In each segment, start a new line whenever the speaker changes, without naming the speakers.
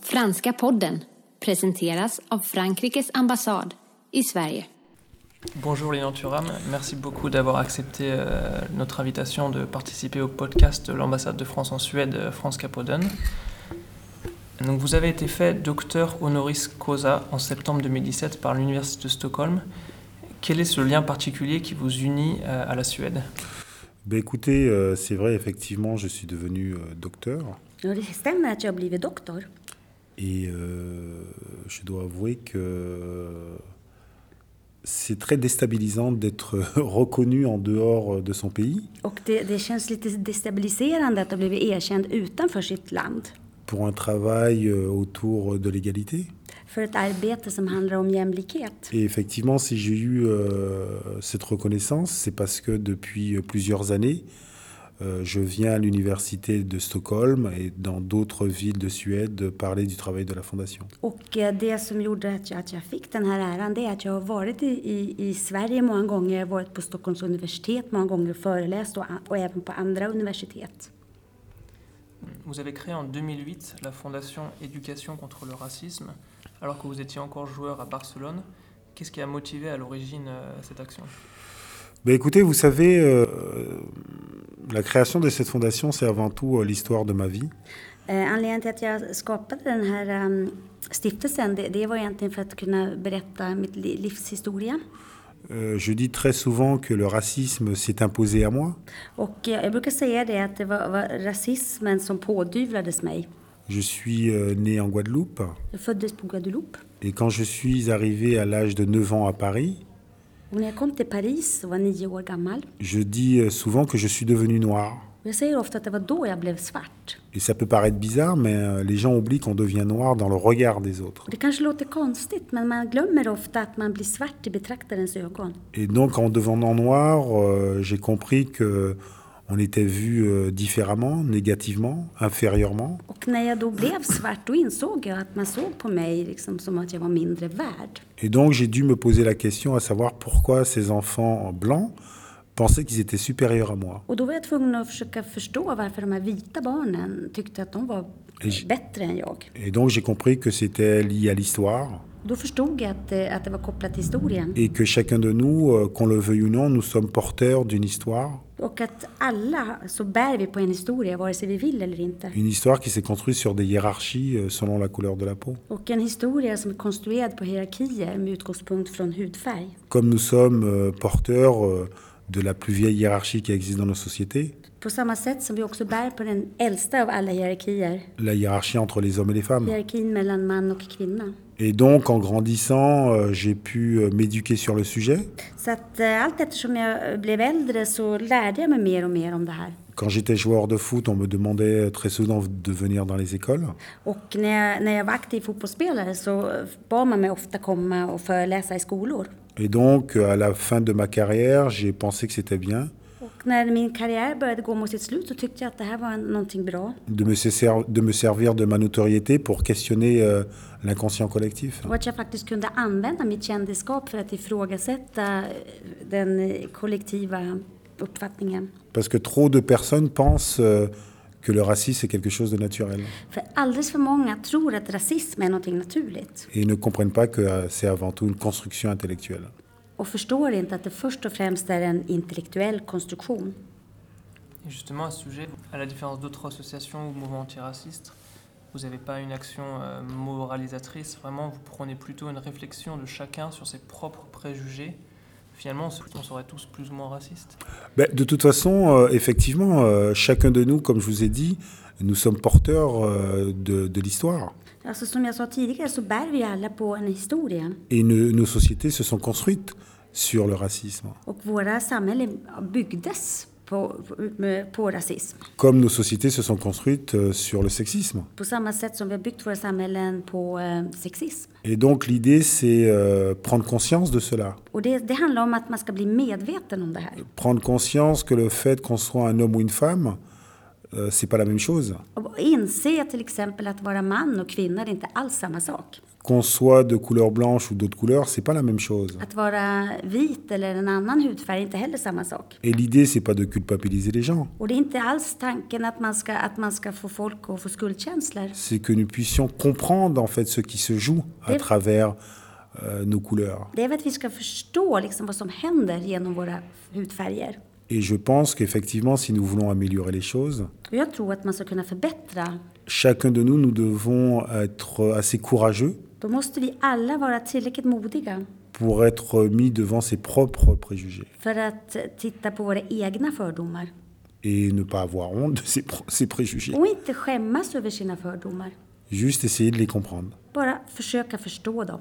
Franska podden presenteras av Frankrikes ambassad i Sverige.
Bonjour Léon Thuram, merci beaucoup d'avoir accepté euh, notre invitation de participer au podcast de l'ambassade de France en Suède, euh, Franska podden. Donc vous avez été fait docteur honoris causa en septembre 2017 par l'Université de Stockholm. Quel est ce lien particulier qui vous unit euh, à la Suède
Ben écoutez, euh, c'est vrai, effectivement, je suis devenu euh, docteur
Ja, det stämmer att jag blivit doktor.
et euh, je dois avouer que c'est très déstabilisant d'être euh, reconnu en dehors euh, de son pays.
Och det, det känns lite destabiliserande att ha blivit erkänd utanför sitt land.
pour un travail euh, autour de l'égalité.
För ett arbete som handlar om jämlikhet.
Et effectivement, si j'ai eu euh, cette reconnaissance, c'est parce que depuis plusieurs années, euh, je viens à l'université de Stockholm et dans d'autres villes de Suède parler du travail de la Fondation.
Och eh, det som gjorde att jag, att jag fick den här äran det är att jag har varit i, i, i Sverige många gånger, varit på Stockholms universitet många gånger och föreläst och, och även på andra universitet.
Vous avez créé en 2008 la fondation Éducation contre le racisme, alors que vous étiez encore joueur à Barcelone. Qu'est-ce qui a motivé à l'origine euh, cette action
Ben écoutez, vous savez, euh, la création de cette fondation, c'est avant tout euh, l'histoire de ma vie.
Eh, Anledningen till att jag skapade den här ehm, stiftelsen det, det var egentligen för att kunna berätta mitt li- livshistoria.
Euh, je dis très souvent que le racisme s'est imposé à moi.
Och eh, jag brukar säga det att det var, var rasismen som pådyvlades mig.
Je suis euh, né en Guadeloupe.
Jag föddes på Guadeloupe.
Et quand je suis arrivé à l'âge de 9 ans à Paris,
Och när jag kom till Paris och var nio år gammal.
je dis euh, souvent que je suis devenu noir.
Och jag säger ofta att det var då jag blev svart.
Et ça peut paraître bizarre, mais euh, les gens oublient qu'on devient noir dans le regard des autres.
Och det kanske låter konstigt men man glömmer ofta att man blir svart i betraktarens ögon.
Et donc, en devenant noir, euh, j'ai compris que on était vu euh, différemment, négativement, inférieurement.
Och när jag då blev svart då insåg jag att man såg på mig liksom som att jag var mindre värd.
Et donc, j'ai dû me poser la question à savoir pourquoi ces enfants blancs pensaient qu'ils étaient supérieurs à moi.
Och då var jag tvungen att försöka förstå varför de här vita barnen tyckte att de var
Ish.
bättre än jag.
Et donc, j'ai compris que c'était lié à l'histoire
Då förstod jag att, det- att det var kopplat till historien.
et que chacun de nous, euh, qu'on le veuille ou non, nous sommes porteurs d'une histoire
Och att alla så bär vi på en historia vare sig vi vill eller inte.
Une histoire qui s'est construite sur des hiérarchies euh, selon la couleur de la peau.
Och en historia som är konstruerad på hierarkier med utgångspunkt från hudfärg.
Comme nous sommes euh, porteurs euh, de la plus vieille hiérarchie qui existe dans nos sociétés,
På samma sätt som vi också bär på den äldsta av alla hierarkier.
la hiérarchie entre les hommes et les femmes.
Hierarkin mellan man och kvinna.
Et donc, en grandissant, euh, j'ai pu euh, m'éduquer sur le sujet.
Så att eh, allt eftersom jag eh, blev äldre så lärde jag mig mer och mer om det här.
Quand j'étais joueur de foot, on me demandait euh, très souvent de venir dans les écoles.
Och när jag, när jag var aktiv fotbollsspelare så bad man mig ofta komma och föreläsa i skolor.
Et donc, euh, à la fin de ma carrière, j'ai pensé que c'était bien
Och när min karriär började gå mot sitt slut så tyckte jag att det här var en- någonting bra.
de me, ser- de me servir de ma notoriété pour questionner euh, l'inconscient collectif.
Och att jag faktiskt kunde använda mitt kändisskap för att ifrågasätta eh, den eh, kollektiva uppfattningen.
Parce que trop de personnes pensent euh, que le racisme est quelque chose de naturel
För alldeles för många tror att rasism är någonting naturligt
et ne comprennent pas que euh, c'est avant tout une construction intellectuelle.
och förstår inte att det först och främst är en intellektuell konstruktion.
Et justement, à ce sujet, à la différence d'autres associations ou mouvements antiracistes, vous n'avez pas une action euh, moralisatrice, vraiment, vous prenez plutôt une réflexion de chacun sur ses propres préjugés. Finalement, on se- on serait tous plus ou moins racistes.
Ben, de toute façon, euh, effectivement, euh, chacun de nous, comme je vous ai dit, nous sommes porteurs euh, de, de l'histoire.
Alltså som jag sa tidigare så bär vi alla på en historia
Et ne- nos sociétés se sont construites sur le racisme,
och våra samhällen byggdes på, på, på rasism.
comme nos sociétés se sont construites euh, sur le sexisme.
På samma sätt som vi har byggt våra samhällen på eh, sexism.
Et donc l'idée, c'est euh, prendre conscience de cela.
Och det, det handlar om att man ska bli medveten om det här.
Prendre conscience que le fait qu'on soit un homme ou une femme, euh, c'est pas la même chose.
Och inse till exempel att vara man och kvinna det är inte alls samma sak.
Qu'on soit de couleur blanche ou d'autres couleurs, c'est pas la même chose.
Att vara vit eller en annan hudfärg är inte heller samma sak.
Et l'idée, c'est pas de culpabiliser les gens.
Och det är inte alls tanken att man ska, att man ska få folk att få skuldkänslor.
C'est que nous puissions comprendre en fait ce qui se joue à
Et-
travers euh, nos couleurs.
Det är väl att vi ska förstå liksom vad som händer genom våra hudfärger.
Et je pense qu'effectivement, si nous voulons améliorer les choses,
Och jag tror att man ska kunna förbättra.
chacun de nous, nous devons être assez courageux
Då måste vi alla vara tillräckligt modiga
pour être mis devant ses propres préjugés
för att titta på våra egna fördomar.
et ne pas avoir honte de ses, pro- ses préjugés.
Och inte skämmas över sina fördomar.
Juste essayer de les comprendre.
Bara försöka förstå dem.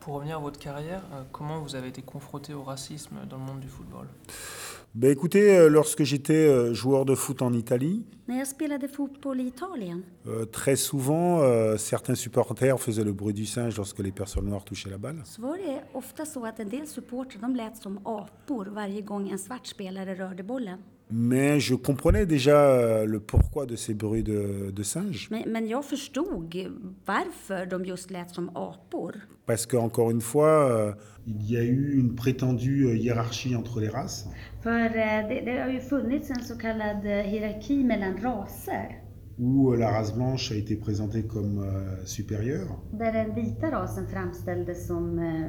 Pour revenir à votre carrière, euh, comment vous avez été confronté au racisme dans le monde du football
Ben écoutez, euh, lorsque j'étais euh, joueur de foot en Italie,
När jag spelade fotboll i Italien
euh, très souvent, euh, certains supporters faisaient le bruit du singe lorsque les personnes noires touchaient la balle.
så var det ofta så att en del supportrar de lät som apor varje gång en svart spelare rörde bollen.
Mais je comprenais déjà euh, le pourquoi de ces bruits de, de singe.
Men, men jag förstod varför de just lät som apor.
Parce qu'encore une fois, euh, il y a eu une prétendue euh, hiérarchie entre les races.
För eh, det, det har ju funnits en så kallad eh, hierarki mellan raser.
où euh, la race blanche a été présentée comme euh, supérieure
Där den vita rasen framställdes som eh,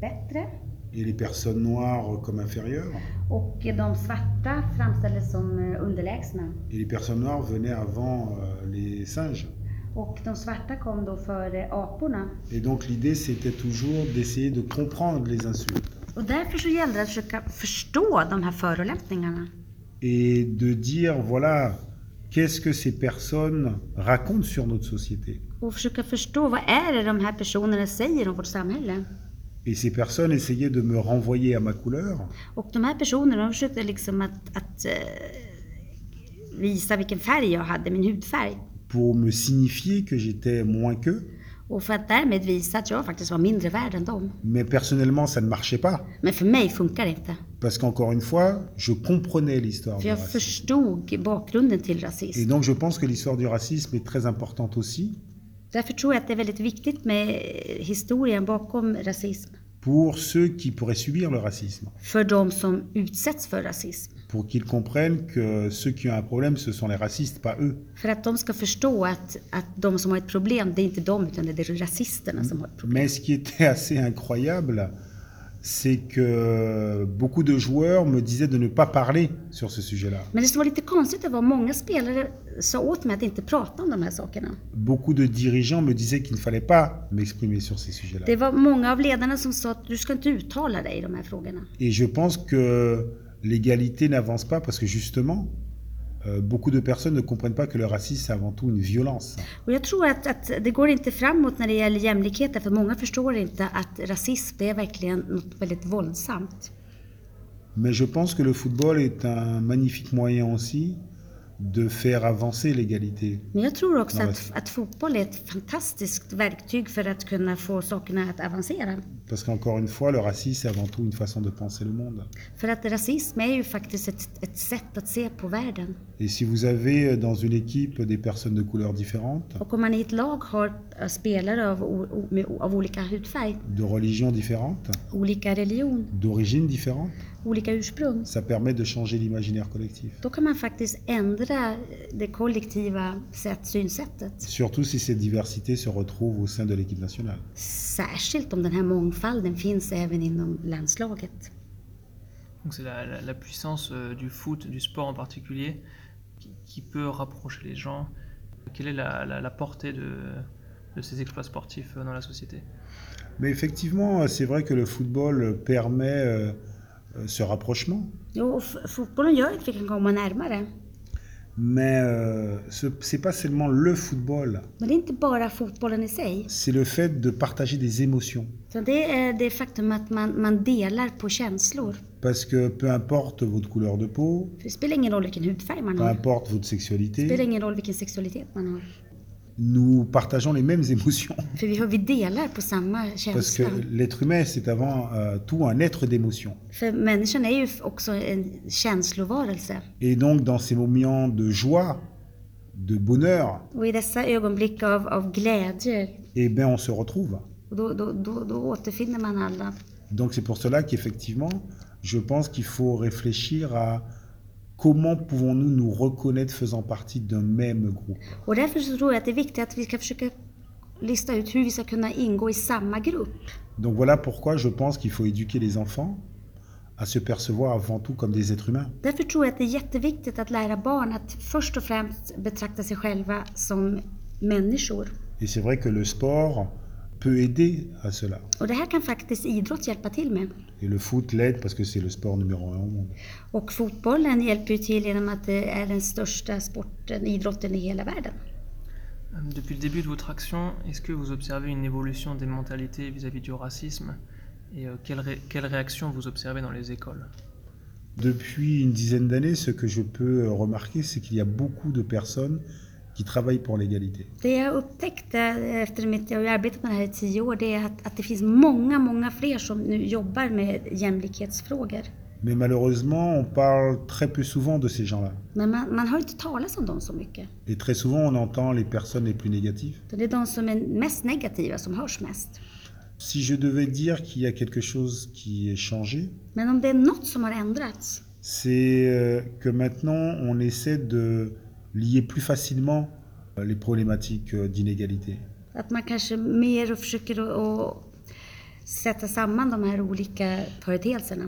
bättre
et les personnes noires comme inférieures.
och de svarta framställdes som eh, underlägsna.
Et les personnes noires venaient avant euh, les singes.
Och de svarta kom då före aporna.
Et donc l'idée, c'était toujours d'essayer de comprendre les insultes
Och därför så gällde det att försöka förstå de här förolämpningarna.
et de dire, voilà, qu'est-ce que ces personnes racontent sur notre société.
Och försöka förstå vad är det de här personerna säger om vårt samhälle.
Et ces personnes essayaient de me renvoyer à ma couleur
Och de här personerna de försökte liksom att, att eh, visa vilken färg jag hade, min hudfärg.
pour me signifier que j'étais moins qu'eux.
Och för att därmed visa att jag faktiskt var mindre värd än dem.
Mais personnellement, ça ne marchait pas.
Men för mig funkar det inte.
Parce qu'encore une fois, je comprenais l'histoire.
För
du
jag
racisme.
förstod bakgrunden till
Et
rasism.
donc je pense que l'histoire du racisme est très importante aussi
Därför tror jag att det är väldigt viktigt med eh, historien bakom rasism.
pour ceux qui pourraient subir le racisme,
För de som utsätts för rasism.
pour qu'ils comprennent que ceux qui ont un problème, ce sont les racistes, pas eux.
För att de ska förstå att, att de som har ett problem, det är inte de utan det är rasisterna som har ett problem.
Mais ce qui était assez incroyable, c'est que beaucoup de joueurs me disaient de ne pas parler sur ce sujet-là.
Men det som var lite konstigt det var att många spelare sa åt mig att inte prata om de här sakerna.
Beaucoup de dirigeants me disaient qu'il ne fallait pas m'exprimer sur ces
Det
sujets-là.
var många av ledarna som sa att du ska inte uttala dig i de här frågorna.
Et je pense que l'égalité n'avance pas parce que justement, euh, beaucoup de personnes ne comprennent pas que le racisme, c'est avant tout une violence.
Och jag tror att, att det går inte framåt när det gäller jämlikhet därför många förstår inte att rasism det är verkligen något väldigt våldsamt.
Mais je pense que le football est un magnifique moyen aussi de faire avancer l'égalité.
Men jag tror också
Ja,
att,
visst.
att fotboll är ett fantastiskt verktyg för att kunna få sakerna att avancera.
Parce qu'encore une fois, le racisme, c'est avant tout une façon de penser le monde.
För att rasism är ju faktiskt ett, ett sätt att se på världen.
Et si vous avez euh, dans une équipe des personnes de couleurs différentes,
Och om man i ett lag har eh, spelare av, o- o- med, av olika hudfärg,
de religions différentes,
olika religion,
d'origines différentes,
olika ursprung,
ça permet de changer l'imaginaire collectif.
då kan man faktiskt ändra det kollektiva sätt, synsättet.
Surtout si ces diversités se retrouvent au sein de l'équipe nationale.
Särskilt om den här mångfalden finns även inom landslaget.
Donc c'est la, la- la puissance euh, du foot, du sport en particulier, qui, qui peut rapprocher les gens. Quelle est la, la- la portée de, de ces exploits sportifs euh, dans la société
Mais effectivement, euh, c'est vrai que le football permet euh, euh, ce rapprochement.
Jo, och f- fotbollen gör att vi kan komma närmare.
Mais euh, ce n'est pas seulement le football,
Men det är inte bara fotbollen i sig,
c'est le fait de partager des émotions.
utan det är det faktum att man, man delar på känslor.
Parce que peu importe votre couleur de peau,
För det spelar ingen roll vilken hudfärg man
peu
har.
importe votre
Det spelar
sexualité,
ingen roll vilken sexualitet man har.
nous partageons les mêmes émotions.
För vi, har- vi delar på samma
Parce que
känsla.
l'être humain, c'est avant euh, tout un être d'émotions.
För människan är ju f- också en känslovarelse.
Et donc, dans ces moments de joie, de bonheur
Och i dessa ögonblick av, av glädje
eh bien, on se retrouve.
Och då, då, då, då återfinner man alla.
Donc c'est pour cela qu'effectivement, je pense qu'il faut réfléchir à comment pouvons-nous nous reconnaître faisant partie d'un même groupe.
Och därför så tror jag att det är viktigt att vi ska försöka lista ut hur vi ska kunna ingå i samma grupp.
Donc voilà pourquoi je pense qu'il faut éduquer les enfants à se percevoir avant tout comme des êtres humains.
Därför tror jag att det är jätteviktigt att lära barn att först och främst betrakta sig själva som människor.
Et c'est vrai que le sport peut aider à cela.
Och det här kan faktiskt idrott hjälpa till med.
Et le foot l'aide parce que c'est le sport numéro un au monde.
Och fotbollen hjälper ju till genom att det är den största sporten, idrotten i hela världen.
Euh, Depuis le début de votre action, est-ce que vous observez une évolution des mentalités vis-à-vis du racisme et euh, quelle, ré- quelle réaction vous observez dans les écoles
Depuis une dizaine d'années, ce que je peux remarquer, c'est qu'il y a beaucoup de personnes qui travaillent pour l'égalité.
Det jag upptäckte efter mitt, jag har ju arbetat med det här i tio år, det är att, att det finns många, många fler som nu jobbar med jämlikhetsfrågor.
Mais malheureusement, on parle très peu souvent de ces gens-là.
Men man, man hör inte talas om dem så mycket.
Et très souvent, on entend les personnes les plus négatives.
Så Det är de som är mest negativa som hörs mest.
Si je devais dire qu'il y a quelque chose qui est changé,
Men om det är något som har ändrats,
c'est euh, que maintenant, on essaie de lier plus facilement euh, les problématiques euh, d'inégalité.
att man kanske mer försöker att, att sätta samman de här olika företeelserna.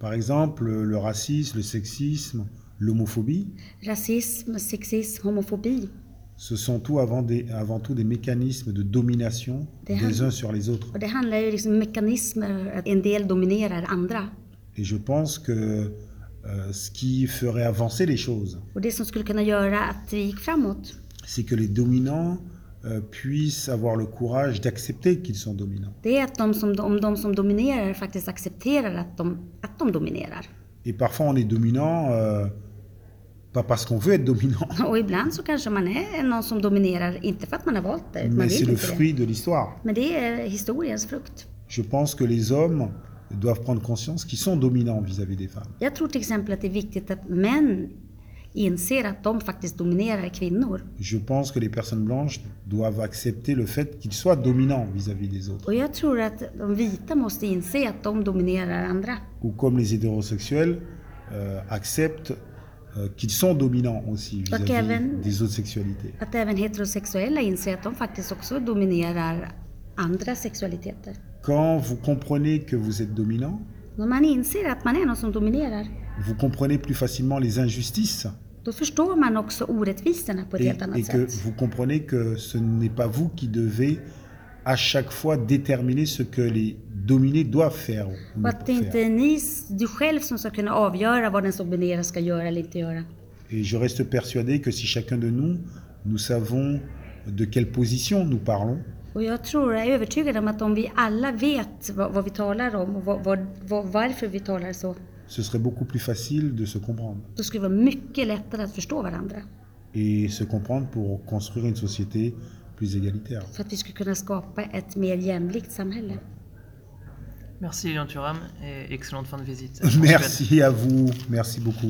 Par exemple, euh, le racisme, le sexisme, l'homophobie,
Rasism, sexism, homofobi.
ce sont tout avant, des- avant tout des mécanismes de domination
Des
des
hand-
uns sur les autres.
Och det handlar ju liksom om mekanismer, att en del dominerar andra.
Et je pense que euh, ce qui ferait avancer les choses,
Och det som skulle kunna göra att vi gick framåt,
c'est que les dominants euh, puissent avoir le courage d'accepter qu'ils sont dominants.
det är att de som, om de som dominerar faktiskt accepterar att de, att de dominerar.
Et parfois, on est dominant, euh, pas parce qu'on veut être dominant,
Och ibland så kanske man är någon som dominerar, inte för att man har valt det, man
mais c'est
vill
le
inte det.
fruit de l'histoire.
Men det är historiens frukt.
Je pense que les hommes doivent prendre conscience qu'ils sont dominants vis-à-vis des femmes.
Jag tror till exempel att det är viktigt att män inser att de faktiskt dominerar kvinnor.
Je pense que les personnes blanches doivent accepter le fait qu'ils soient dominants vis-à-vis des autres.
Och jag tror att de vita måste inse att de dominerar andra.
Ou comme les hétérosexuels euh, acceptent euh, qu'ils sont dominants aussi
Pas
vis-à-vis
Kevin.
des autres sexualités.
Att även heterosexuella inser att de faktiskt också dominerar andra sexualiteter.
Quand vous comprenez que vous êtes dominant,
När man inser att man är någon som dominerar,
vous comprenez plus facilement les injustices
då förstår man också orättvisorna på ett
et,
helt
et
annat
que
sätt.
vous comprenez que ce n'est pas vous qui devez à chaque fois déterminer ce que les dominés doivent faire. ou ne
Och
pas
att det inte
faire.
är ni, du själv som ska kunna avgöra vad den som dominerar ska göra eller inte göra.
Et je reste persuadé que si chacun de nous, nous savons de quelle position nous parlons,
Och jag tror, jag är övertygad om att om vi alla vet vad, vad vi talar om och vad, vad, vad, varför vi talar så,
ce serait beaucoup plus facile de se comprendre.
då skulle det vara mycket lättare att förstå varandra.
Et se comprendre pour construire une société plus égalitaire.
För att vi skulle kunna skapa ett mer jämlikt samhälle.
Merci Elian Thuram et excellente fin de visite. en Suède.
Merci à vous, merci beaucoup.